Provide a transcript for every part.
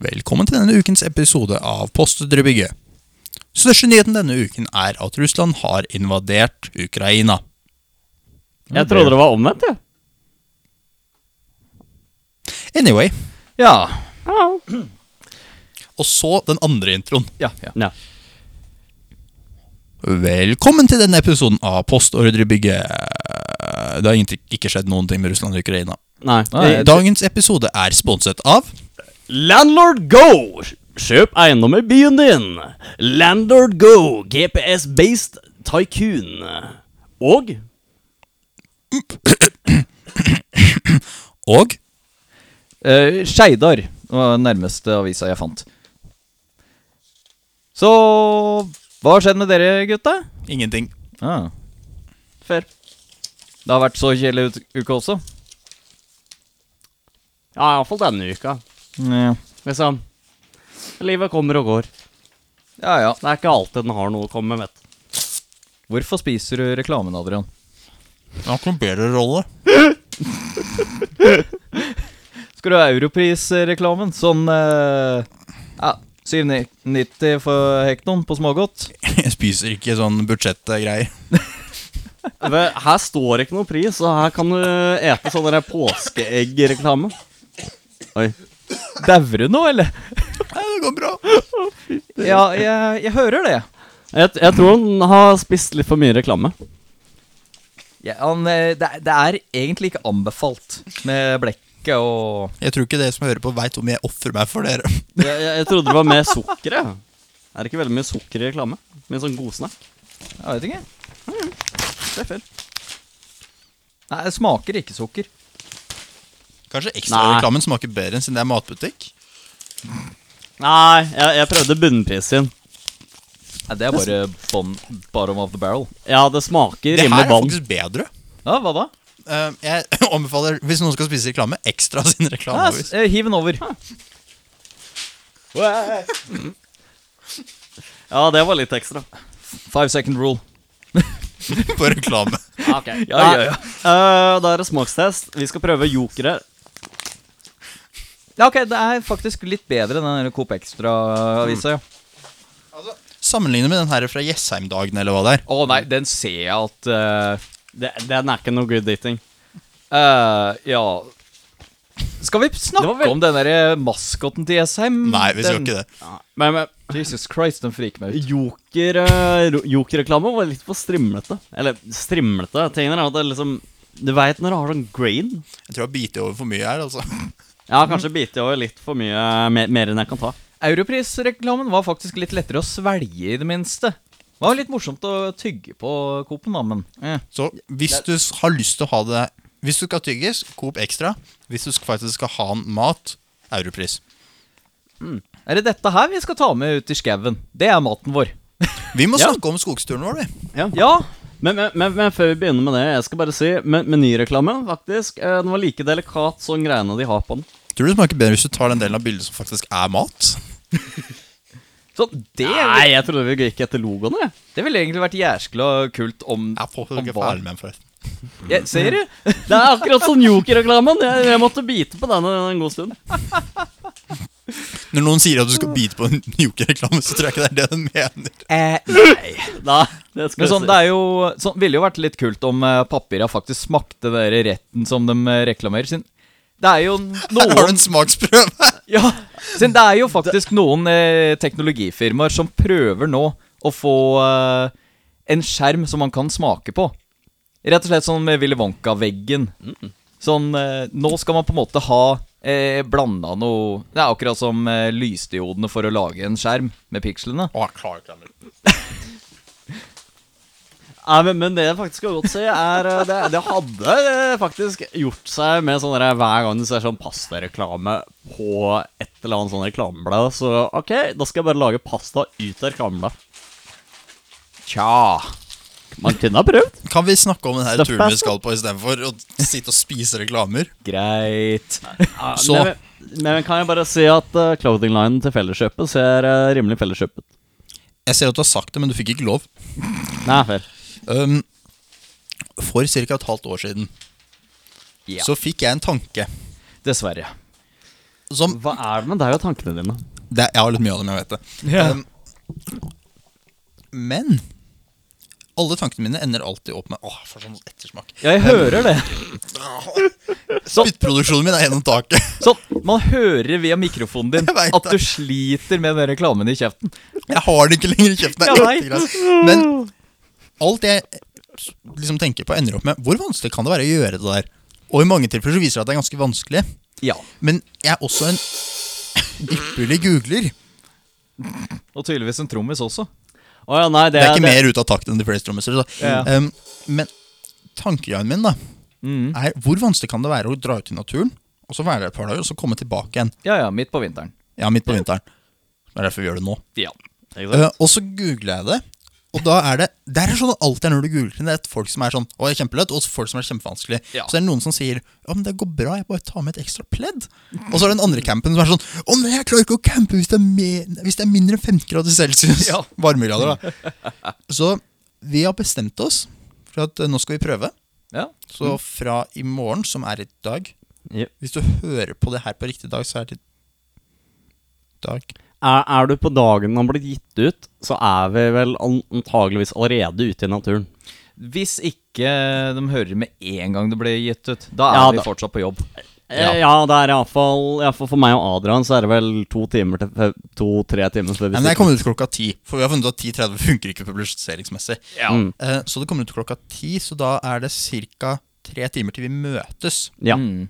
Velkommen til denne ukens episode av Postdrybygget. Største nyheten denne uken er at Russland har invadert Ukraina. Jeg trodde det var omvendt, jeg. Anyway, Ja. og så den andre introen. Ja. ja. Ja. Velkommen til denne episoden av Postordrebygget. Det har egentlig ikke skjedd noen ting med Russland og Ukraina. Nei. Nei. Dagens episode er sponset av Landlord Go! Kjøp eiendom i byen din! Landlord Go, GPS-based tycoon. Og og Eh, Skeidar var den nærmeste avisa jeg fant. Så hva har skjedd med dere, gutta? ingenting. Ah. Fair. Det har vært så kjedelig ut- uke også. Ja, iallfall denne uka. Ja. Liksom. Livet kommer og går. ja ja. Det er ikke alltid den har noe å komme med, vet du. Hvorfor spiser du reklamen, Adrian? Jeg har ikke noen bedre rolle. Skal du ha europrisreklamen? Sånn eh, ja, 790 for hektoen på smågodt? Jeg spiser ikke sånn budsjettgreier. Ve- Her står ikke noe pris, og her kan du ete sånn der påskeegg-reklame. Oi. Dauer du nå, eller? Nei, det går bra. Ja, jeg, jeg hører det. Jeg, jeg tror han har spist litt for mye reklame. Ja, han, eh, det, er- det er egentlig ikke anbefalt med blekket og Jeg tror ikke dere som hører på, veit om jeg ofrer meg for dere. Jeg, jeg, jeg trodde det var mer sukker, jeg. Er det ikke veldig mye sukker i reklame? Med sånn godsnakk? Jeg vet ikke. Treffer. Nei, det smaker ikke sukker. Kanskje Nei. ekstrareklamen smaker bedre enn siden det er matbutikk? Nei, jeg, jeg prøvde bunnprisen. Nei, det er bare bon, bottom of the barrel. Ja, det smaker Det her rimelig er vann. faktisk bedre. Ja, hva da? Eh, jeg anbefaler, hvis noen skal spise reklame, ekstra sin Ja, s- reklameavis. eh, hiv den over. Ja, det var litt ekstra. Five second rule. På reklame. Ok. Ja, ja, ja. eh, da er det smakstest. Vi skal prøve jokere. Ja, ok, det er faktisk litt bedre enn den der Coop Extra-avisa. ja. Sammenligne med den her fra Jessheim-dagen, eller hva det er. Å nei, den ser jeg at eh, Det, den er ikke noe good dating. eh, Ja Skal vi snakke Det var vel- om den der maskoten til Jessheim? Nei, vi skal Den- ikke det. Ja, Men, men Jesus Christ, den friker meg ut. joker, eh, ro- jokerreklame var litt for strimlete. Eller strimlete. Tingen er at det liksom Du veit når du har sånn grain? Jeg tror jeg biter over for mye her, altså. Ja, kanskje biter jeg over litt for mye mer, mer enn jeg kan ta. Europris-reklamen var faktisk litt lettere å svelge, i det minste. Det var litt morsomt å tygge på Coop-en, da, men eh. Så hvis du s- har lyst til å ha det Hvis du skal tygges, Coop Extra. Hvis du sk- faktisk skal ha en mat, Europris. Er det dette her vi skal ta med ut i skauen? Det er maten vår. Vi må Ja. snakke om skogsturen vår, vi. Ja. Ja, Men, men, men, men før vi begynner med det, jeg skal bare si men- Menyreklame, faktisk. eh, Den var like delikat som greiene de har på den. Tror du det smaker bedre hvis du tar den delen av bildet som faktisk er mat? så det, Nei, jeg trodde vi gikk etter logoen, jeg. det ville egentlig vært jæskla kult om Jeg får om ikke hva- ferdig med den, forresten. Ja, Ser du? Det er akkurat som Joker-reklamen. Jeg, jeg måtte bite på den en en god stund. Når noen sier at du skal bite på en joker-reklame, så tror jeg ikke det er det de mener. nei. Nei, det skal Eh, Men jeg sånn, si. det er jo sånn, ville jo vært litt kult om eh, papira faktisk smakte den der retten som de eh, reklamerer. Sin. Det er jo Her har du noen en smaksprøve! Ja, siden det er jo faktisk noen eh, teknologifirmaer som prøver nå å få eh, en skjerm som man kan smake på. Rett og slett sånn med Willy Wonka-veggen. Sånn, eh, nå skal man på en måte ha eh, blanda noe Det er akkurat som eh, lysdiodene for å lage en skjerm med pikslene. Å, jeg klarer ikke den. Nei, men, men det jeg faktisk skal godt si, er eh, det, det hadde eh, faktisk gjort seg med sånn der hver gang du ser sånn pastareklame på et eller annet sånn reklameblad. Så OK, da skal jeg bare lage pasta ut av reklamebladet. Tja Man kunne ha prøvd. Kan vi snakke om den her Stuff turen vi pasta? skal på istedenfor å sitte og spise reklamer? Greit. Så- Men, men, men kan jeg bare si at uh, clothing-linen til Felleskjøpet ser eh, rimelig Felleskjøpet ut. Jeg ser at du har sagt det, men du fikk ikke lov. Nei, fair. Um, for ca. et halvt år siden Ja. så fikk jeg en tanke. Dessverre. som Hva er det med deg og tankene dine? det, Jeg har litt mye av dem, jeg vet det. Ja. Um, men alle tankene mine ender alltid opp med Åh, jeg får sånn ettersmak. Ja, jeg hører det. Spyttproduksjonen min er gjennom taket. Sånn, Man hører via mikrofonen din Jeg vet at det. du sliter med den reklamen i kjeften. Jeg har det ikke lenger i kjeften. Det Jeg er ekte greit. Men alt jeg liksom tenker på, ender opp med hvor vanskelig kan det være å gjøre det der? Og i mange tilfeller så viser det at det er ganske vanskelig. Ja, Men jeg er også en ypperlig googler. Og tydeligvis en trommis også. Å ja, nei, det, Det er ikke det- mer ute av takt enn de fleste trommiser. da. Ja. Um, men tankegangen min da, Mhm. er hvor vanskelig kan det være å dra ut i naturen, og så være der et par dager, og så komme tilbake igjen? Ja, ja, midt på vinteren. Ja, midt på vinteren. Det er derfor vi gjør det nå. Ja. Ikke sant? Eh, og så googler jeg det. Og da er det Der er sånn at alltid er når du googler det, er folk som er sånn Å, jeg er kjempelett, og folk som er kjempevanskelig. Ja. Så er det noen som sier Ja, men det går bra, jeg bare tar med et ekstra pledd. Og så er det den andre campen som er sånn Å nei, jeg klarer ikke å campe hvis det er, mer, hvis det er mindre enn 15 grader celsius. Ja. Varmegrader, da. Så vi har bestemt oss for at eh, nå skal vi prøve. ja. Så fra i morgen, som er i dag Jep. Hvis du hører på det her på riktig dag, så er det dag Er, er du på dagen den har blitt gitt ut, så er vi vel an- antageligvis allerede ute i naturen. Hvis ikke de hører med en gang det ble gitt ut, da er Ja, vi da- fortsatt på jobb. Ja, Eh, ja det er iallfall For meg og Adrian så er det vel to timer til to-tre timer før Nei, vi men jeg stikker. kommer ut klokka ti, for vi har funnet ut at 10.30 funker ikke publiseringsmessig. Mm. Eh, Så det kommer ut klokka ti, så da er det ca. tre timer til vi møtes. Ja. Mm.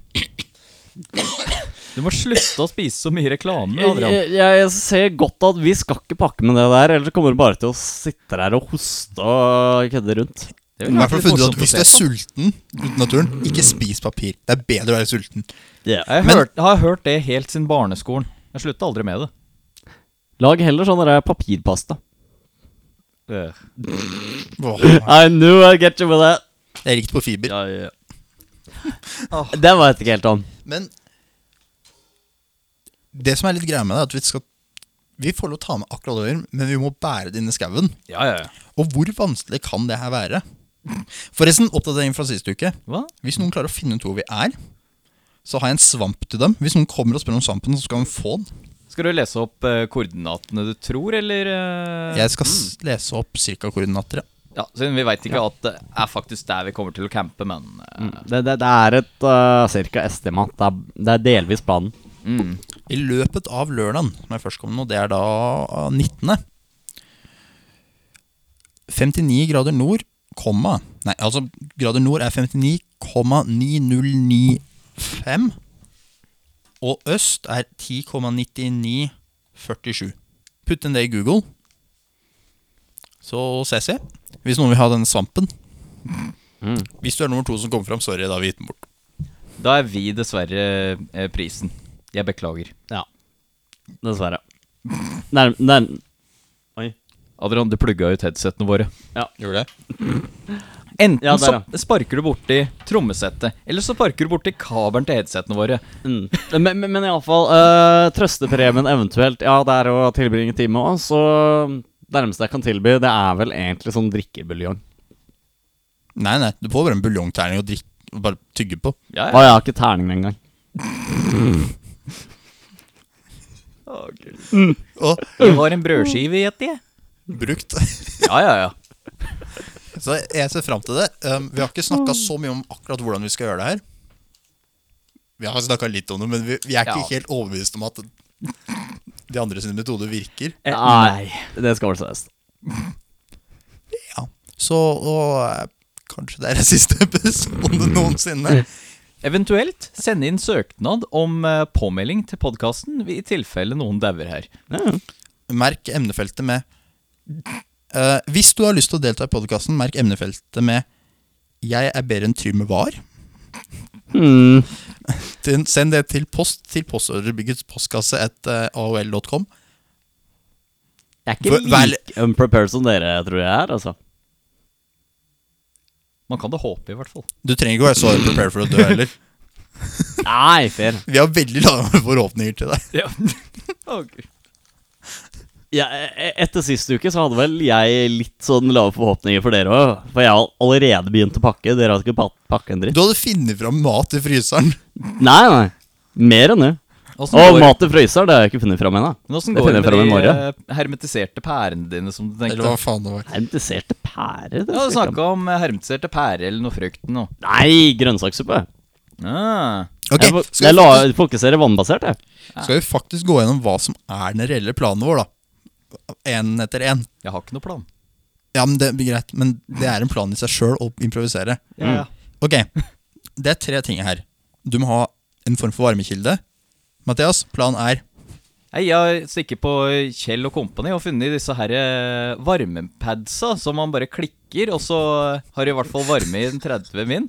Du må slutte å spise så mye reklame, Mm, Adrian. Jeg, jeg, jeg ser godt at vi skal ikke pakke med det der, ellers kommer du bare til å sitte der og hoste og kødde rundt. Det I hvert fall funnet ut at Hvis du er sulten uten naturen, ikke spis papir. Det er bedre å være sulten. Jeg Men- hørt, har hørt det helt siden barneskolen. Jeg slutta aldri med det. Lag heller sånn der papirpasta. Åh, I knew I'd get you with that. jeg er rikt på fiber. Ja, ja. Ah. Den var jeg ikke helt om. Men det som er litt greia med det, er at vi skal Vi får lov å ta med akkurat det, vi gjør, men vi må bære det inn i skauen. Ja, ja, ja. Og hvor vanskelig kan det her være? Forresten, oppdatering fra sist uke. Hva? Hvis noen klarer å finne ut hvor vi er, så har jeg en svamp til dem. Hvis noen kommer og spør om svampen, så skal de få den. Skal du lese opp eh, koordinatene du tror, eller eh, Jeg skal s- lese opp ca. koordinater. ja. Ja, siden vi veit ikke at det er faktisk der vi kommer til å campe, men eh, Det, det, det er et uh, cirka estimat. Det er, det er delvis planen. mm. I løpet av lørdagen, som er førstkommende, og det er da ah, 19. 59 grader nord, komma Nei, altså grader nord er 59,9095. Og øst er 10,9947. Putt inn det i Google, så ses vi. Hvis noen vil ha denne svampen. Mm. Hvis du er nummer to som kommer fram, sorry, da har vi gitt den bort. Da er vi dessverre eh, prisen. Jeg beklager. Ja. Dessverre. Nærm... nærm Oi. Adrian, du plugga ut headsetene våre. Gjør det? Enten Ja, der, så sparker du borti trommesettet, eller så sparker du borti kabelen til headsetene våre. Mm. Men, men, men iallfall uh, Trøstepremien eventuelt. Ja, det er å tilbringe time òg, så det nærmeste jeg kan tilby, det er vel egentlig sånn drikkebuljong. Nei, nei, du får bare en buljongterning å drikke og bare tygge på. Ja, Å, jeg har ikke terning engang. ja. Og Jeg har en brødskive i et, jeg. brukt. Ja, ja, ja. Så jeg ser fram til det. Um, vi har ikke snakka så mye om akkurat hvordan vi skal gjøre det her. Vi har snakka litt om det, men vi, vi er ikke Ja. helt overbevist om at de andre sine metoder virker. Eh, Nei, det skal vel ses. Ja. Så og, eh, kanskje det er siste episode noensinne. Eventuelt sende inn søknad om eh, påmelding til podkasten i tilfelle noen dauer her. Ja. Merk emnefeltet med Eh, Hvis du har lyst til å delta i podkasten, merk emnefeltet med 'Jeg er bedre enn Trym var'. Mm. Til- Send det til post til postordrebyggets postkasse at eh, aol.com. Jeg er Vel- ikke like unprepared som dere, tror jeg er, altså. Man kan det håpe, i hvert fall. Du trenger ikke være så prepared for å dø heller. Nei, fair. Vi har veldig lave forhåpninger til deg. Ja. Å, Gud. Ja, e- etter sist uke så hadde vel jeg litt sånn lave forhåpninger for dere òg. For jeg har allerede begynt å pakke. Dere har ikke pa- pakket en dritt. Du hadde funnet fram mat i fryseren. Nei, nei. Mer enn det. Åssen Og går- mat i fryseren, det har jeg ikke funnet fram ennå. Men åssen Det går finner det jeg fram i med de morgen. eh, hermetiserte pærene dine, som du tenkte? Eller hva faen det var. Hermetiserte pærer? det Ja, du skal jeg ikke ha. snakka om eh, hermetiserte pærer eller noe frukt nå. Nei, grønnsakssuppe. Ah. Ok, jeg fo- jeg skal vi, la faktisk, fokusere vannbasert, jeg. skal vi faktisk gå gjennom hva som er den reelle planen vår, da? Én etter én. Jeg har ikke noe plan. Ja, men det blir greit, men det er en plan i seg sjøl å improvisere. Ja, Mm. ja. Ok, det er tre ting her. Du må ha en form for varmekilde. Mathias, planen er Nei, Jeg har stikket på Kjell og Company og funnet disse her eh, varmepadsa som man bare klikker, og så har du i hvert fall varme i den 30 min.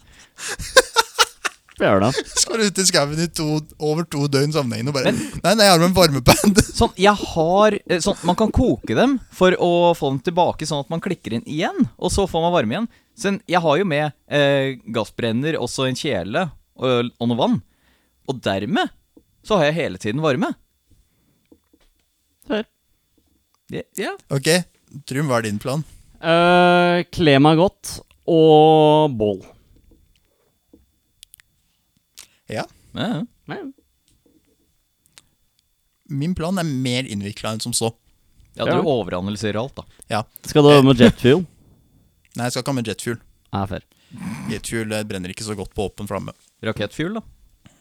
Får jeg gjøre det. Skal ut i skauen i to, over to døgn sammenhengende og bare Nei, nei, jeg har med en varmepad. Sånn, jeg har eh, sånn, Man kan koke dem for å få dem tilbake, sånn at man klikker inn igjen, og så får man varme igjen. Så en- jeg har jo med eh, gassbrenner, også en kjele og, og noe vann. Og dermed så har jeg hele tiden varme. Hør. Ja. ja. Ok, Trym, hva er din plan? Eh, kle meg godt og bål. Ja, ja. Nei, Min plan er mer innvikla enn som så. Ja, Ja. du overanalyserer alt, da. Ja. Skal du med jet fuel? Nei, jeg skal ikke ha med jetfuel. Nei, fair. Jetfuel eh, brenner ikke så godt på åpen flamme. Rakettfyr, da.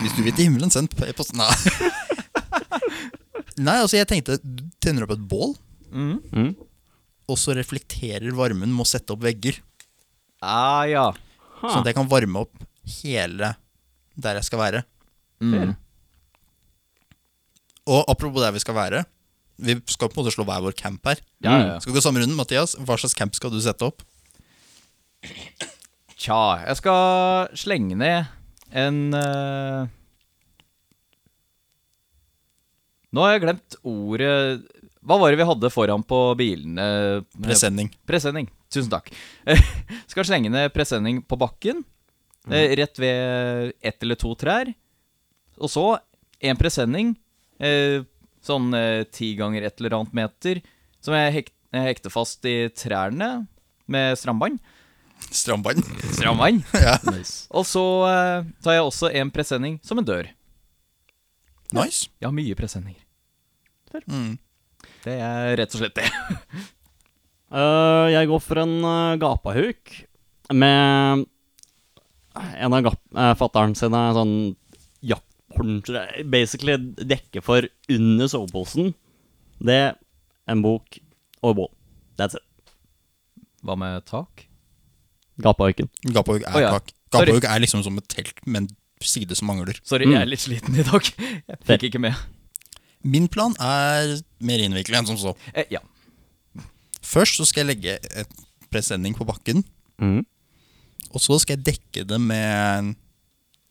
Hvis du vil til himmelen, send e-post. Nei. Nei, altså, jeg tenkte du tenner opp et bål, Mm. Mm. og så reflekterer varmen med å sette opp vegger. Ah, ja. Sånn at jeg kan varme opp hele der jeg skal være. Mm. Og apropos der vi skal være. Vi skal på en måte slå hver vår camp her. Ja, ja, ja. Skal vi gå samme runden, Mathias? Hva slags camp skal du sette opp? Tja, jeg skal slenge ned en eh, Nå har jeg glemt ordet Hva var det vi hadde foran på bilene? Eh, Presenning. Presenning. Tusen takk. skal slenge ned presenning på bakken, Mm. eh, rett ved ett eller to trær. Og så en presenning, eh, sånn eh, ti ganger et eller annet meter, som jeg hek jeg hekter fast i trærne med strambånd. Strandbånd. Strambånd? Nice. Og så eh, tar jeg også en presenning som en dør. Nice. Jeg har mye presenninger. Mm. Det er rett og slett det. Eh, jeg går for en eh, gapahuk med en av gap eh, fatteren sine sånn jakthorn tror jeg. Basically dekke for under soveposen. Det, en bok og bål. That's it. Hva med tak? Gapahuken. Gapahuk er Å, ja. kak. Gapahuk er liksom som et telt med en side som mangler. Sorry, jeg er litt sliten i dag. Jeg fikk ikke med. Min plan er mer innvikla enn som så. Eh, ja. Først så skal jeg legge et presenning på bakken, Mm. og så skal jeg dekke det med en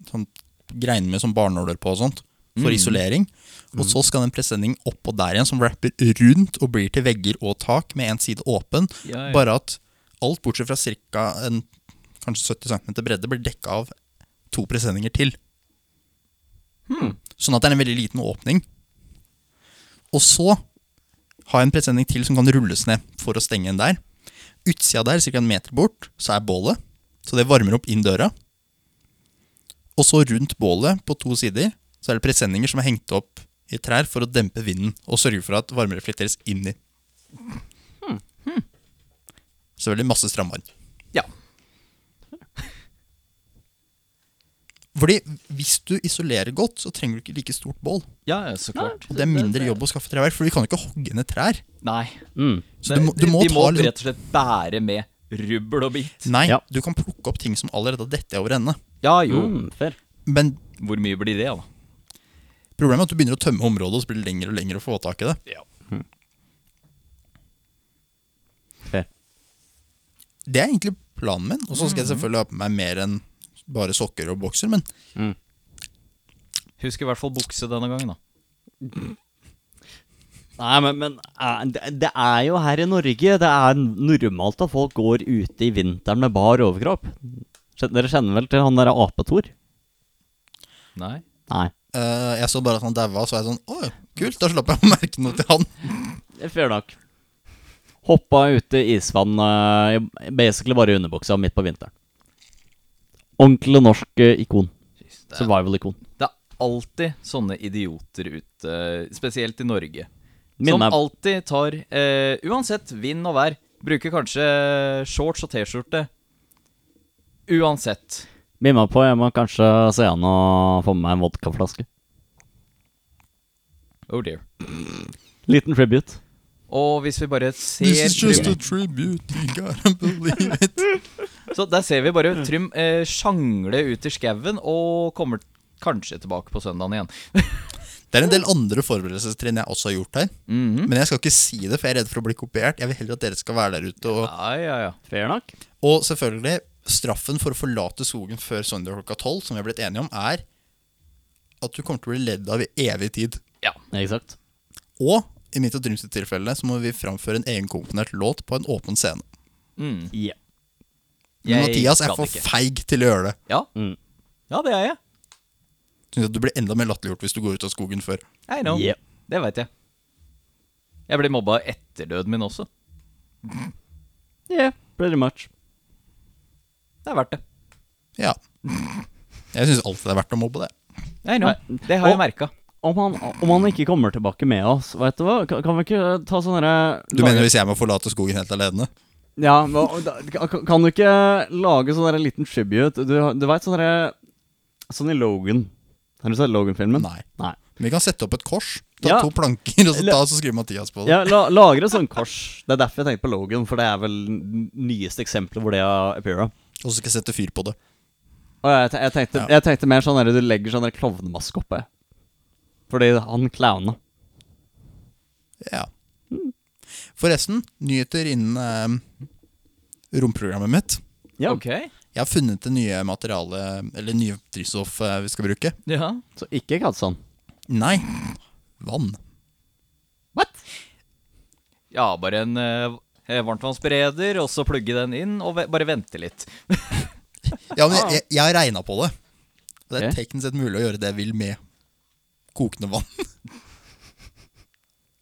sånn greiner med sånn barnåler på og sånt, Mm. for isolering. Og så skal den presenningen oppå der igjen, som wrapper rundt og blir til vegger og tak med en side åpen. Ja, ja. Bare at alt bortsett fra ca. kanskje 70 cm bredde blir dekka av to presenninger til. Hmm. Sånn at det er en veldig liten åpning. Og så har jeg en presenning til som kan rulles ned for å stenge en der. Utsida der, ca. en meter bort, så er bålet. Så det varmer opp inn døra. Og så rundt bålet, på to sider, så er det presenninger som er hengt opp i trær for å dempe vinden og sørge for at varme reflekteres inn i. Hmm, Selvfølgelig masse strandvann. ja. Fordi hvis du isolerer godt, så trenger du ikke like stort bål. Ja, ja, så klart. Og det er mindre jobb å skaffe treverk, for vi kan jo ikke hogge ned trær. Nei. Mm. Så du må, du må de, de må ta litt rett og slett bære med rubbel og bit. Nei, Ja. du kan plukke opp ting som allerede har dette over ende. Ja jo. Mm, fair. Men Hvor mye blir det, da? problemet er at du begynner å tømme området, og så blir det lengre og lengre å få tak i det. Ja. Fair. Det er egentlig planen min. Og så Mhm. skal jeg selvfølgelig ha på meg mer enn bare sokker og bokser, men Husk i hvert fall bukse denne gangen, da. Nei, men, men eh, det- det er jo her i Norge Det er normalt at folk går ute i vinteren med bar overkropp. Skjønner- Dere kjenner vel til han derre apetor? Nei. Nei. eh, jeg så bare at han daua, så var jeg sånn Å, kult, da slapp jeg å merke noe til han. Fair nok. Hoppa ute i isvann, eh, i- basically bare i underbuksa midt på vinteren. Ordentlig norsk eh, ikon. Jeez, det, Survival-ikon. er, det alltid sånne idioter ute, spesielt i Norge. Som Minner- alltid tar, eh, uansett vind og vær, bruker kanskje shorts og T-skjorte. Uansett. Bli med på, jeg må kanskje se an og få med meg en vodkaflaske. Oh dear. Liten tribute. Og hvis vi bare This ser is just Trym- a tribute, you gotta believe it. Så der ser vi bare Trym eh, sjangle ut i skauen og kommer kanskje tilbake på søndagen igjen. Det er en del andre forberedelsestrinn jeg også har gjort her. Mhm. Men jeg skal ikke si det, for jeg er redd for å bli kopiert. Jeg vil heller at dere skal være der ute. Og, Ja, ja, ja. Fair nok. og selvfølgelig, straffen for å forlate skogen før søndag klokka tolv, som vi har blitt enige om, er at du kommer til å bli ledd av i evig tid. Eksakt. Og i mitt og Trims sitt tilfelle så må vi framføre en egenkomponert låt på en åpen scene. Mm. Yeah. Men Jeg Mathias er gadd for ikke. feig til å gjøre det. Ja. Mm. ja, det er jeg. Synes at Du blir enda mer latterliggjort hvis du går ut av skogen før. I know. Yeah. Det veit jeg. Jeg blir mobba etter døden min også. yeah, pretty much. Det er verdt det. Ja. Jeg syns alltid det er verdt å mobbe det. I know. Nei. Det har Og- jeg merka. Om han, om han ikke kommer tilbake med oss, vet du hva? Kan, kan vi ikke ta sånn herre Du mener hvis jeg må forlate skogen helt alene? Ja, hva- da- kan kan du ikke lage sånn der liten tribute? Du, du veit sånn derre Sånn i Logan. Har du sett Logan-filmen? Nei. Men vi kan sette opp et kors. Ta Ja. to planker, og så, Eller- ta, så skriver Mathias på det. Ja, la, Lagre et sånt kors. Det er derfor jeg tenkte på Logan, for det er vel n- nyeste eksempelet hvor det har appeara. Og så skal jeg sette fyr på det. Og jeg, te- jeg, tenkte, Ja. jeg tenkte mer sånn der du legger sånn der klovnemaske oppå. Fordi han clowna. Ja. Forresten, nyheter innen eh, romprogrammet mitt. Ja. Ok. Jeg har funnet det nye materialet, eller nye drivstoff eh, vi skal bruke. Ja. Så ikke sånn. Katsan. Nei, vann. What? ja, bare en eh, varmtvannsbereder, og så plugge den inn, og ve bare vente litt. Ja, men jeg, jeg, jeg har regna på det. Og Det er Ok. teknisk sett mulig å gjøre det jeg vil med kokende vann.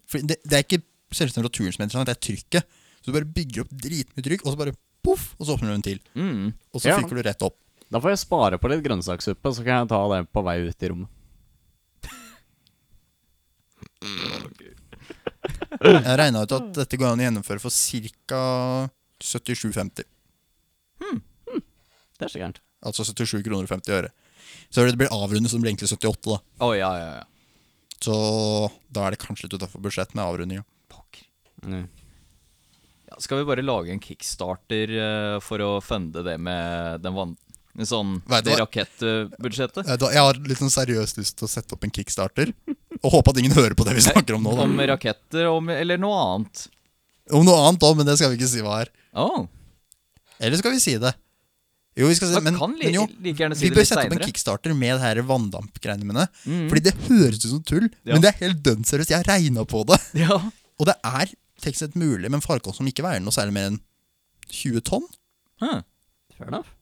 For det, det er ikke selve temperaturen som er interessant, det er trykket. Så du bare bygger opp dritmye trykk, og så bare poff, og så åpner du den til. Mm. Og så Ja. fyker du rett opp. Da får jeg spare på litt grønnsakssuppe, så kan jeg ta det på vei ut i rommet. Jeg regna ut at dette går an å gjennomføre for ca. 77,50. Det er så gærent. Altså 77 kroner og 50 øre. Så det blir avrundet, så det blir egentlig 78, da. Å, ja, ja, ja. Så da er det kanskje litt utafor budsjett med avrundinga. Pokker. Mm. Ja, skal vi bare lage en kickstarter eh, for å funde det med den van... Sånn Vet du det hva? rakettbudsjettet? Jeg har litt sånn seriøst lyst til å sette opp en kickstarter. Og håpe at ingen hører på det vi snakker om nå. Da. Om raketter om, eller noe annet? Om noe annet òg, men det skal vi ikke si hva er. Oh, Eller skal vi si det? Jo, vi skal si man men, kan li men jo, like gjerne si vi det bør litt sette opp en seinere. kickstarter med det her vanndampgreiene mine. Mm. Fordi det høres ut som tull, Ja. men det er helt dønn seriøst. Jeg har regna på det. Ja. Og det er tekst sett mulig med en farkost som ikke veier noe særlig mer enn 20 tonn. Huh. Fair enough.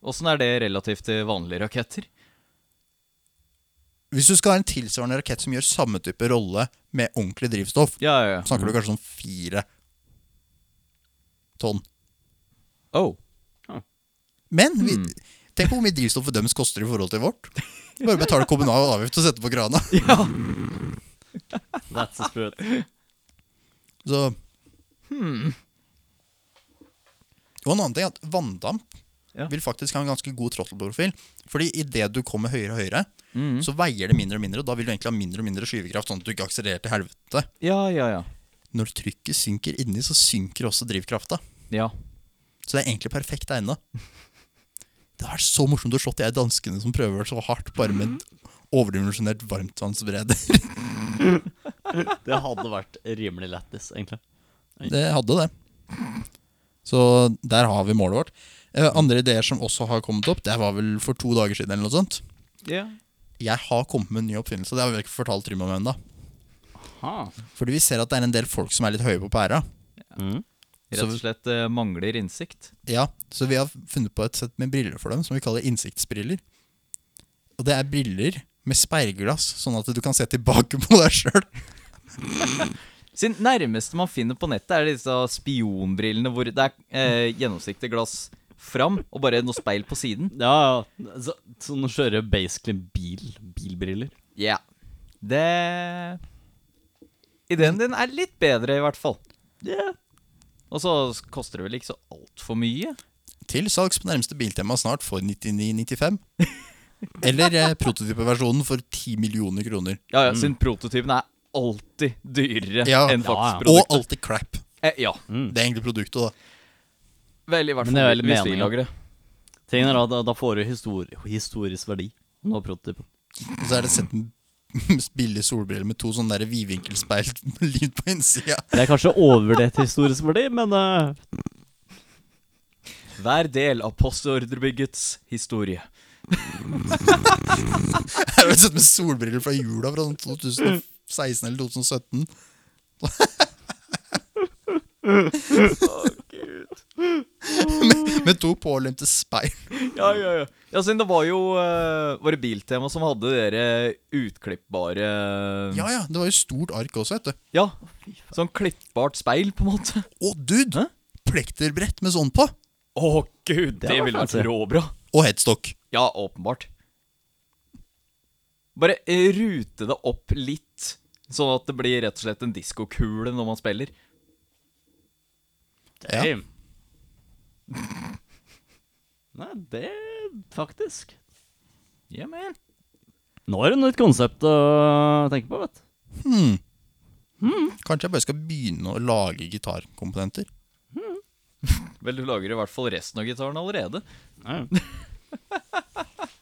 Åssen er det relativt til vanlige raketter? Hvis du skal ha en tilsvarende rakett som gjør samme type rolle med ordentlig drivstoff, Ja, ja, ja. snakker du kanskje om fire tonn. Oh. Men vi, Mm. tenk på hvor mye drivstoffet deres koster i forhold til vårt. Bare betale kommunal avgift og sette på krana. Ja. That's the spirit. Så Hmm. Og en annen ting er at vanndamp Ja. vil faktisk ha en ganske god trottelprofil. Fordi idet du kommer høyere og høyere, Mm. så veier det mindre og mindre. Og da vil du egentlig ha mindre og mindre skyvekraft, sånn at du ikke akselererer til helvete. ja, ja, ja. Når trykket synker inni, så synker også drivkrafta. Ja. Så det er egentlig perfekt egna. Det har vært så morsomt å slå de her danskene som prøver så hardt, bare med Mm. en overdimensjonert varmtvannsbereder. Det hadde vært rimelig lættis, egentlig. Det hadde det. Så der har vi målet vårt. Eh, Andre ideer som også har kommet opp, det var vel for to dager siden eller noe sånt. ja. Jeg har kommet med en ny oppfinnelse, det har vi ikke fortalt Trym om ennå. Fordi vi ser at det er en del folk som er litt høye på pæra. Mm. Rett og slett eh, mangler innsikt. Ja, så vi har funnet på et sett med briller for dem, som vi kaller innsiktsbriller. Og det er briller med speilglass, sånn at du kan se tilbake på deg sjøl. Sin nærmeste man finner på nettet, er disse spionbrillene hvor det er eh, gjennomsiktig glass fram, og bare noe speil på siden. Ja, ja. Så, sånn å kjøre basically bil. Bilbriller. Ja. Det Ideen din er litt bedre, i hvert fall. Og så koster det vel ikke så altfor mye? Til salgs på nærmeste Biltema snart for 99,95. Eller eh, prototypeversjonen for 10 millioner kroner. Ja, ja, siden prototypen er alltid dyrere Ja. enn Ja, ja. faktisk Og produktet. alltid crap. eh, ja. Det er egentlig produktet, da. Vel, i hvert Men det er fall vel hvis vi meningen. lager det. Tingen er at da, da får du histori historisk verdi. Nå prototypen. Og så er det sett en billig solbrille med to sånne der vidvinkelspeil med lyd på innsida. Det er kanskje overvurdert historisk verdi, men eh, Hver del av postordrebyggets historie. Her har vi sett med solbriller fra jula fra sånn 2016 eller 2017. med, med to pålimte speil. Ja, ja, ja. Ja, siden det var jo eh, Var det Biltema som hadde dere utklippbare eh, Ja ja, det var jo stort ark også, vet du. Ja, Sånn klippbart speil, på en måte. Å, dude! Hæ? Plekterbrett med sånn på. Å, gud! Det, var ville vært fancy. råbra. Og headstock. Ja, åpenbart. Bare eh, rute det opp litt, sånn at det blir rett og slett en diskokule når man spiller. Ja. Damn. Nei, det Faktisk. Ja, men. Nå er det noe nytt konsept å tenke på, vet du. Hmm. Kanskje jeg bare skal begynne å lage gitarkomponenter. Vel, du lager i hvert fall resten av gitaren allerede.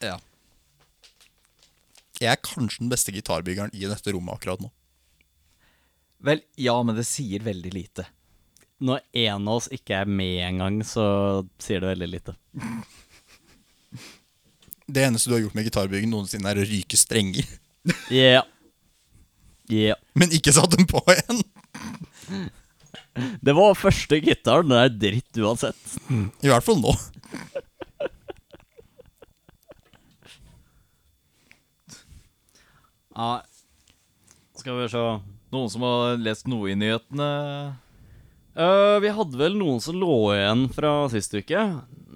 Ja. Jeg er kanskje den beste gitarbyggeren i dette rommet akkurat nå. Vel, ja, men det sier veldig lite. Når en av oss ikke er med engang, så sier det veldig lite. Det eneste du har gjort med gitarbygging noensinne, er å ryke strenger. Yeah. Yeah. Men ikke satt dem på igjen! Det var første gitaren. Den er dritt uansett. I hvert fall nå. Ja. Skal vi se Noen som har lest noe i nyhetene? Eh, Vi hadde vel noen som lå igjen fra sist uke.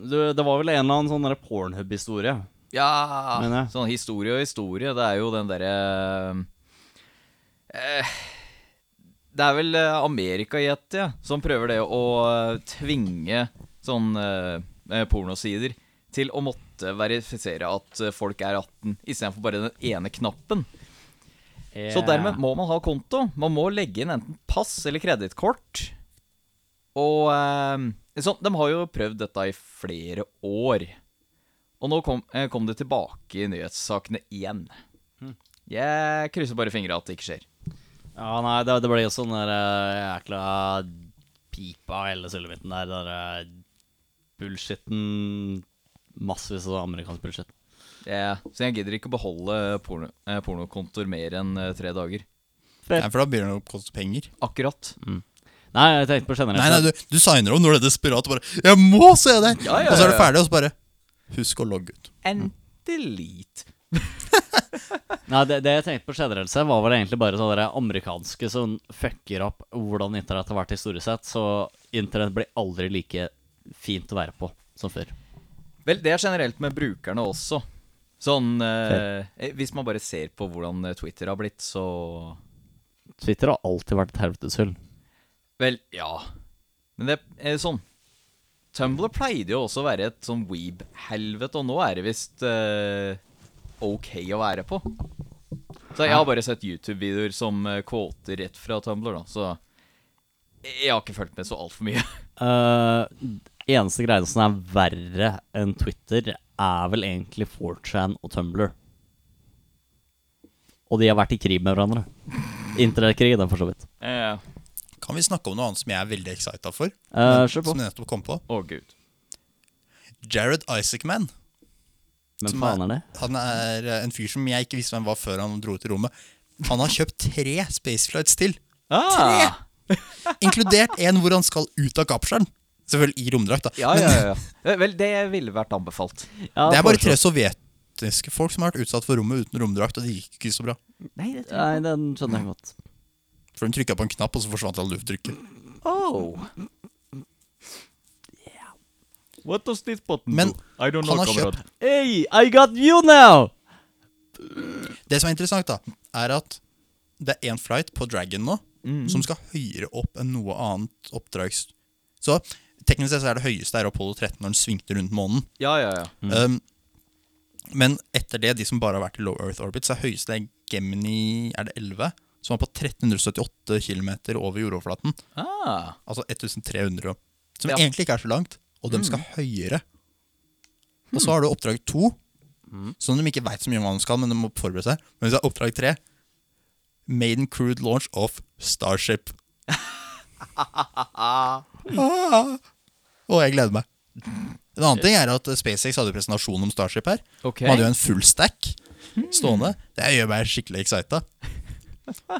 Du, det var vel en eller annen sånn der pornhub-historie. Ja, Mener jeg. sånn historie og historie, det er jo den derre eh, Det er vel eh, Amerika, gjetter jeg, som prøver det å eh, tvinge sånn eh, eh, pornosider til å måtte verifisere at eh, folk er 18, istedenfor bare den ene knappen. Så dermed må man ha konto. Man må legge inn enten pass eller kredittkort. Og eh, sånn, De har jo prøvd dette i flere år. Og nå kom, eh, kom det tilbake i nyhetssakene igjen. Jeg krysser bare fingra at det ikke skjer. Ja, nei, det, det ble jo sånn der eh, jækla pipa av hele sulamitten der. Den der eh, bullshitten Massevis av amerikansk bullshit. Jeg, så jeg gidder ikke å beholde porno, eh, pornokontoer mer enn eh, tre dager. Nei, for da begynner det å koste penger. Akkurat. Nei, jeg tenkte på generelt. Nei, nei, du, du signer om når det er desperat og bare 'Jeg må se der!' Ja, ja, Og så er det ja. ferdig, og så bare Husk å logge ut. En delete. Nei, det, det jeg tenkte på generelt sett, var vel egentlig bare sånne der amerikanske som fucker opp hvordan internett har vært historisk sett, så internett blir aldri like fint å være på som før. Vel, det er generelt med brukerne også. Sånn eh, eh, Hvis man bare ser på hvordan eh, Twitter har blitt, så Twitter har alltid vært et helveteshull. Vel, ja. Men det er sånn Tumblr pleide jo også å være et sånn weeb-helvete, og nå er det visst eh, ok å være på. Så jeg har bare sett YouTube-videoer som eh, quoter rett fra Tumblr, da, så jeg har ikke fulgt med så altfor mye. Uh, eneste greiene som er verre enn Twitter, er vel egentlig 4chan og Tumblr. Og de har vært i krig med hverandre. Internettkrig, den, for så vidt. Eh, Kan vi snakke om noe annet som jeg er veldig excita for? Eh, Men- kjør på. Som jeg nettopp kom på. Å, gud. Jared Isaacman. Men Som faen er det? Han er eh, en fyr som jeg ikke visste hvem var før han dro ut i rommet. Han har kjøpt tre spaceflights til, Ah, inkludert en hvor han skal ut av kapselen. Selvfølgelig i romdrakt, da. ja, ja, ja. Eh, Vel, det ville vært anbefalt. Ja, Det er bare tre foreslå. sovjetiske folk som har vært utsatt for rommet uten romdrakt, og det gikk ikke så bra. Nei, det Nei, den skjønner jeg godt. For de trykka på en Oh. knapp, og så forsvant all lufttrykket. Oh. What does this button Men do? I don't know, han har kamerat. Hey, I got you now! Det som er interessant, da, er at det er én flight på Dragon nå Mhm. Mm. som skal høyere opp enn noe annet oppdrags... Så teknisk sett så er det høyeste er Apollo 13 når den svingte rundt månen. Ja, ja, ja. Um, men etter det, de som bare har vært i low earth orbit, så er høyeste er Gemini er det 11, som er på 1378 km over jordoverflaten. Ah, Altså 1300, som Ja. egentlig ikke er så langt, og de skal høyere. Og så har du oppdrag to, som de ikke veit så mye om hva de skal, men de må forberede seg. Men hvis det er oppdrag tre Maiden crewed launch of Starship. ah, og jeg gleder meg. En annen ting er at SpaceX hadde presentasjon om Starship her. ok. Man hadde jo en full stack stående. Det gjør meg skikkelig excita.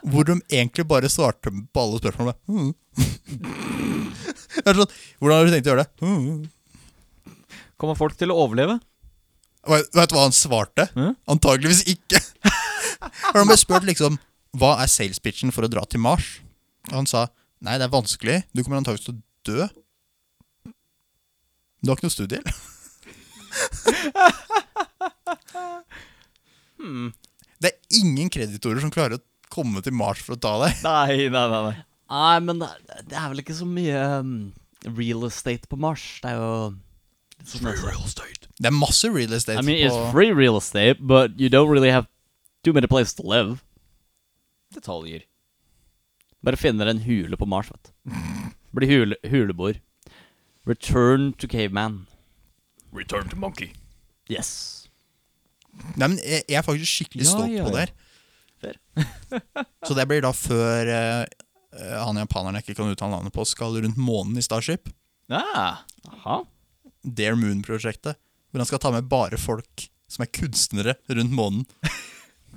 Hvor de egentlig bare svarte på alle spørsmålene. Mm. Det er sånn, Hvordan har du tenkt å gjøre det? Mm. Kommer folk til å overleve? Vet vet du hva han svarte? Mm. Antageligvis ikke. Har han bare spurt liksom Hva er sales pitchen for å dra til Mars? Og han sa Nei, det er vanskelig. Du kommer antageligvis til å dø. Du har ikke noe studie? eller? Hmm. Det er ingen kreditorer som klarer å komme til Mars for å ta deg. Nei, nei, nei. nei. Nei, men det er- det er vel ikke så mye um, real estate på Mars. Det er jo litt sånn det er. Det er masse real estate I mean, it's på free real estate, but you don't really have too many places to live. Detaljer. Bare finner en hule på Mars, vet du. Blir hule, huleboer. Return to caveman. Return to monkey. Yes. Nei, men jeg, jeg er faktisk skikkelig Ja, stolt ja, på det her. så det blir da før eh, eh, han japaneren jeg ikke kan uttale navnet på, skal rundt månen i Starship. Ah, Aha. Dare Moon-prosjektet. Hvor han skal ta med bare folk som er kunstnere rundt månen.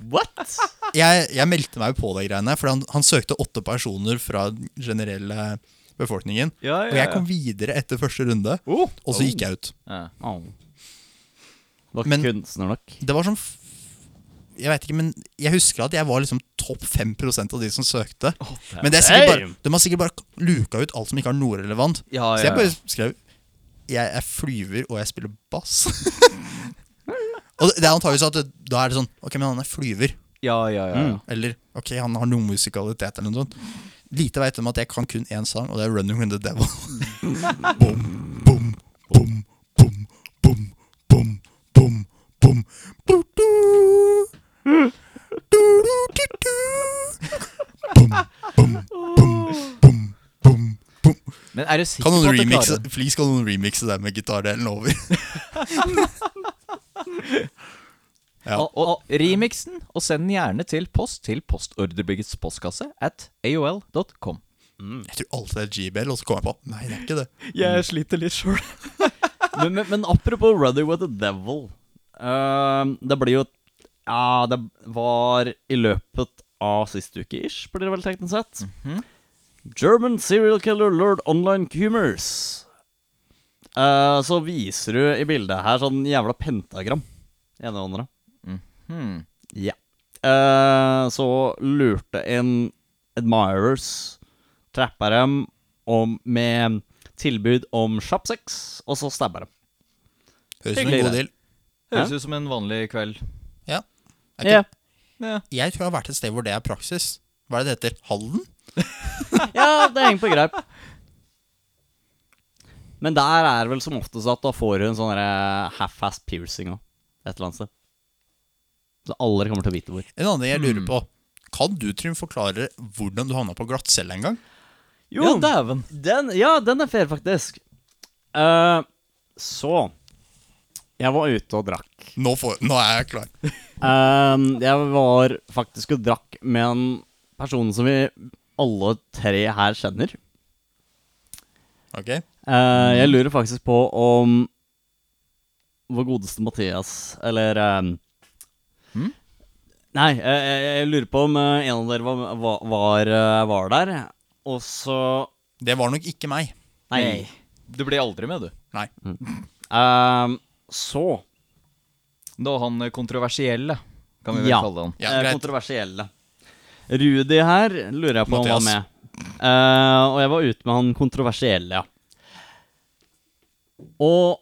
What? Jeg, jeg meldte meg på de greiene, for han, han søkte åtte personer fra den generelle befolkningen. ja, ja, Og jeg ja. kom videre etter første runde, Oh. og så gikk jeg ut. Ah. Oh. Var ikke Men- kunstner nok. Det var sånn f- Jeg vet ikke, men jeg husker at jeg var liksom topp 5 av de som søkte. Men det er sikkert bare, Damn. de har sikkert bare luka ut alt som ikke har noe relevant. Ja, Så ja, jeg bare ja. skrev Jeg er flyver, og jeg spiller bass. og det er antageligvis at det, da er det sånn Ok, men han er flyver. ja, ja, ja. ja. Eller ok, han har noe musikalitet eller noe sånt. Lite veit de at jeg kan kun én sang, og det er 'Running With The Devil'. bom, bom, bom, bom, bom, bom, bom, bom. Du, du. Du, du, du, du. Bom, bom, bom, bom, bom, bom. Men er du sikker Kan på noen at du remixe, klarer det? please kan noen remixe det med gitardelen over? Ja. Og, og, remixen, og send den gjerne til post til postordrebyggets postkasse at aol.com. Mm. Jeg tror alltid det er G-Bell, og så kommer jeg på Nei, det er ikke det. Jeg sliter litt sjøl. men, men, men apropos Rudder with the Devil Ehm, Det blir jo Ja, det var i løpet av siste uke ish, blir det vel teknisk sett. German serial killer lord online cumers. Eh, så viser du i bildet her sånn jævla pentagram. Ene og andre. Hmm. Ja. Eh, så lurte en admirers trappa dem om, med tilbud om kjapp sex, og så stabba dem. Høres ut som Hyggelig, en god det. deal. Høres ut som en vanlig kveld. Ja. Er ikke- Ja, Ja. Jeg tror jeg har vært et sted hvor det er praksis. Hva er det det heter? Halden? ja, det henger på greip. Men der er det vel som oftest at da får du en sånn derre half-fast piercing òg, et eller annet sted. Så aldri kommer til å vite hvor. En annen ting jeg Mm. lurer på. Kan du, Trym, forklare hvordan du havna på glattcelle en gang? Jo, ja, dæven. Den, ja, den er fair, faktisk. Eh, så Jeg var ute og drakk. Nå, får, nå er jeg klar. Ehm, jeg var faktisk og drakk med en person som vi alle tre her kjenner. Ok? Eh, Mm. jeg lurer faktisk på om vår godeste Mathias, eller ehm, Hm? Nei, jeg, jeg, jeg lurer på om eh, en av dere var, var, var, eh, var der, og så Det var nok ikke meg. Nei. Du blir aldri med, du. Nei. Mm. Ehm, så Da han eh, kontroversielle, kan vi vel Ja. kalle han. Ja, eh, greit. kontroversielle. Rudi her lurer jeg på om han var Mathias. med. Eh, og jeg var ute med han kontroversielle, ja. Og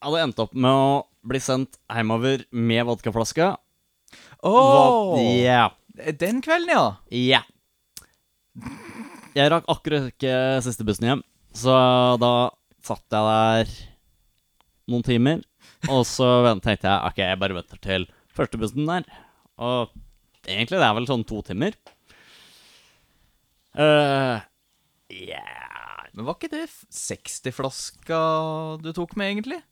jeg hadde endt opp med å bli sendt hjemover med vodkaflaska. Åh! Hva- Ja. Den kvelden, ja. Ja. Jeg rakk akkurat ikke siste bussen hjem, så da satt jeg der noen timer. Og så vent- tenkte jeg ok, jeg bare venter til første bussen der. Og egentlig det er vel sånn to timer. Eh, ja. Men var ikke det f- 60-flaska du tok med, egentlig?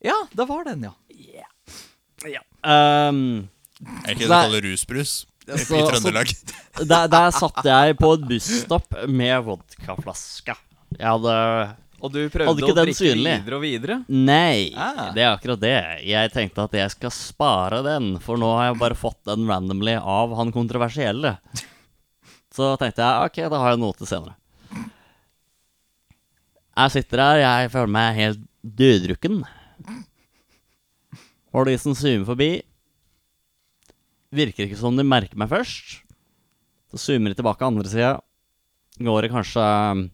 Ja, det var den, ja. ja. Ehm, Er ikke det du Så det er- kaller rusbrus i så- så- Trøndelag? der, der satt jeg på et busstopp med vodkaflaska. Jeg hadde Og du prøvde ikke å den drikke synlig? videre og videre? Nei, Ah. det er akkurat det. Jeg tenkte at jeg skal spare den, for nå har jeg bare fått den randomly av han kontroversielle. Så tenkte jeg ok, da har jeg noe til senere. Jeg sitter her, jeg føler meg helt døddrukken. Og de som zoomer forbi, virker ikke som de merker meg først. Så zoomer de tilbake andre sida. Går det kanskje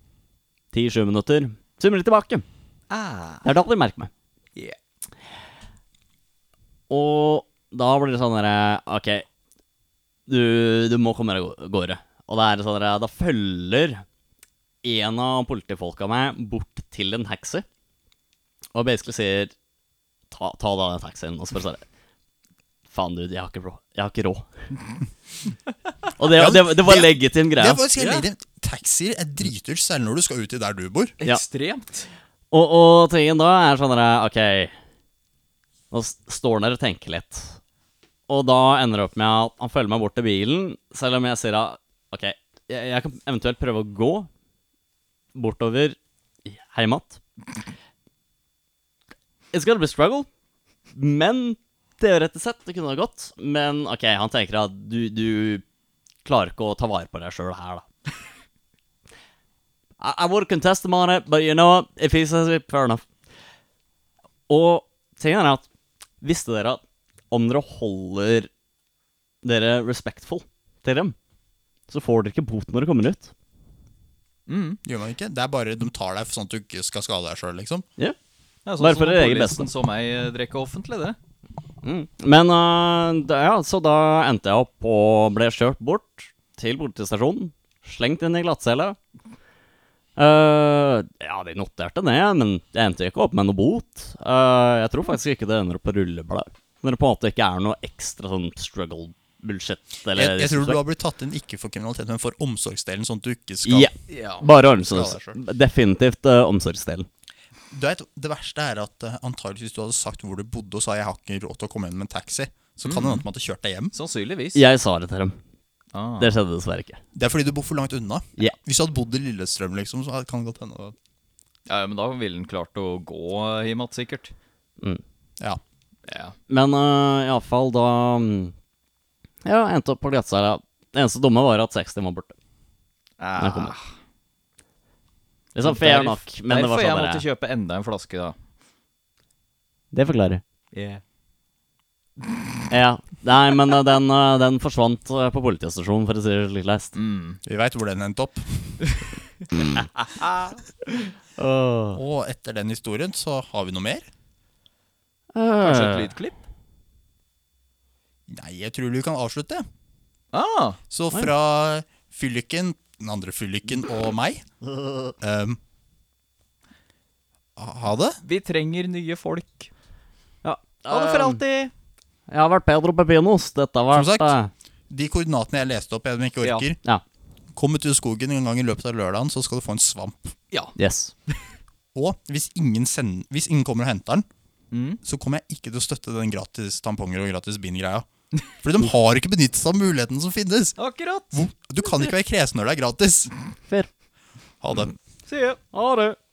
10-20 minutter. Zoomer de tilbake. Ah, Det er da de merker meg. yeah. Og da blir det sånn derre Ok, du, du må komme deg av gårde. Og da er det sånn derre Da følger en av politifolka meg bort til en taxi og basically sier Ta, ta da den taxien. Og så bare sånn Faen, dude, jeg har ikke råd. Jeg har ikke råd. og det, Ja, det, det var det- legitim Det greie. er faktisk helt Ja. legitimt. Taxier er dritdyrt, særlig når du skal ut i der du bor. Ja. Ekstremt. Og, og tingen da er sånn der, Ok Nå s- står han der og tenker litt Og da ender det opp med at Han følger meg bort til bilen Selv om jeg sier at Ok, jeg, jeg kan eventuelt prøve å gå Bortover Heimat It's gonna be a struggle Men teoretisk sett Det kunne ha gått Men ok, han tenker at du, du Klarer ikke å ta vare på deg selv her da I, I would contest him on it, but you know what? If he says it, fair enough. Og tingen er at visste dere at om dere holder dere respectful til dem, så får dere ikke bot når dere kommer ut? Mm. Gjør man ikke? Det er bare de tar deg sånn at du ikke skal skade deg sjøl, liksom. Ja. sånn Ja, Bare for som det eget polisen beste. så meg eh, drikke offentlig, det. Mm. Men eh, da, ja, så da endte jeg opp og ble kjørt bort til politistasjonen. Slengt inn i glattcella. Eh, ja, de noterte ned, men jeg endte ikke opp med noe bot. Eh, jeg tror faktisk ikke det ender opp på rullebladet. Når det på en måte ikke er noe ekstra sånn struggle bullshit. Eller, Jeg, jeg tror du har blitt tatt inn ikke for kriminalitet, men for omsorgsdelen, sånn at du ikke skal Ja, Ja. bare Skal omsorgs... Definitivt eh, omsorgsdelen. Du vet, Det verste er at uh, antageligvis hvis du hadde sagt hvor du bodde og sa jeg har ikke råd til å komme inn med en taxi, så kan det hende at man hadde kjørt deg hjem. Sannsynligvis. Jeg sa det til dem. Ah. Det skjedde dessverre ikke. Det er fordi du bor for langt unna. Ja. Hvis du hadde bodd i Lillestrøm, liksom, så kan det godt hende at- Ja, ja, men da ville den klart å gå eh, hjem igjen, sikkert. Mm. Ja. Ja. Men uh, iallfall da mm, Ja, endte opp på glattcella. Det eneste dumme var at 60 var borte. Ah. Når jeg kom ut. Liksom fair Derf- nok, men det Derfor var sånn jeg måtte der, kjøpe enda en flaske, da. Det forklarer. Ja. Nei, men uh, den, uh, den forsvant uh, på politistasjonen, for å si det slik leist. Mm. Vi veit hvor den endte opp. Uh, Og etter den historien så har vi noe mer. Eh, Kanskje et lydklipp? Nei, jeg tror vi kan avslutte. Ah, Så fra fylliken, den andre fylliken og meg um, Ha det. vi trenger nye folk. ja. Ha det for Um, alltid! Jeg har vært Pedro Pepinos. Dette har vært Som sagt. uh, De koordinatene jeg leste opp, jeg som ikke Ja. orker. Ja. Kom ut i skogen en gang i løpet av lørdagen, så skal du få en svamp. Ja. Yes. Og hvis ingen, send, hvis ingen kommer og henter den, Mm. så kommer jeg ikke til å støtte den gratis tamponger og gratis bind-greia. Fordi de har ikke benyttet seg av muligheten som finnes. Akkurat. Hvor- Du kan ikke være kresen når det er gratis. Fair. Ha det. See you. Ha det.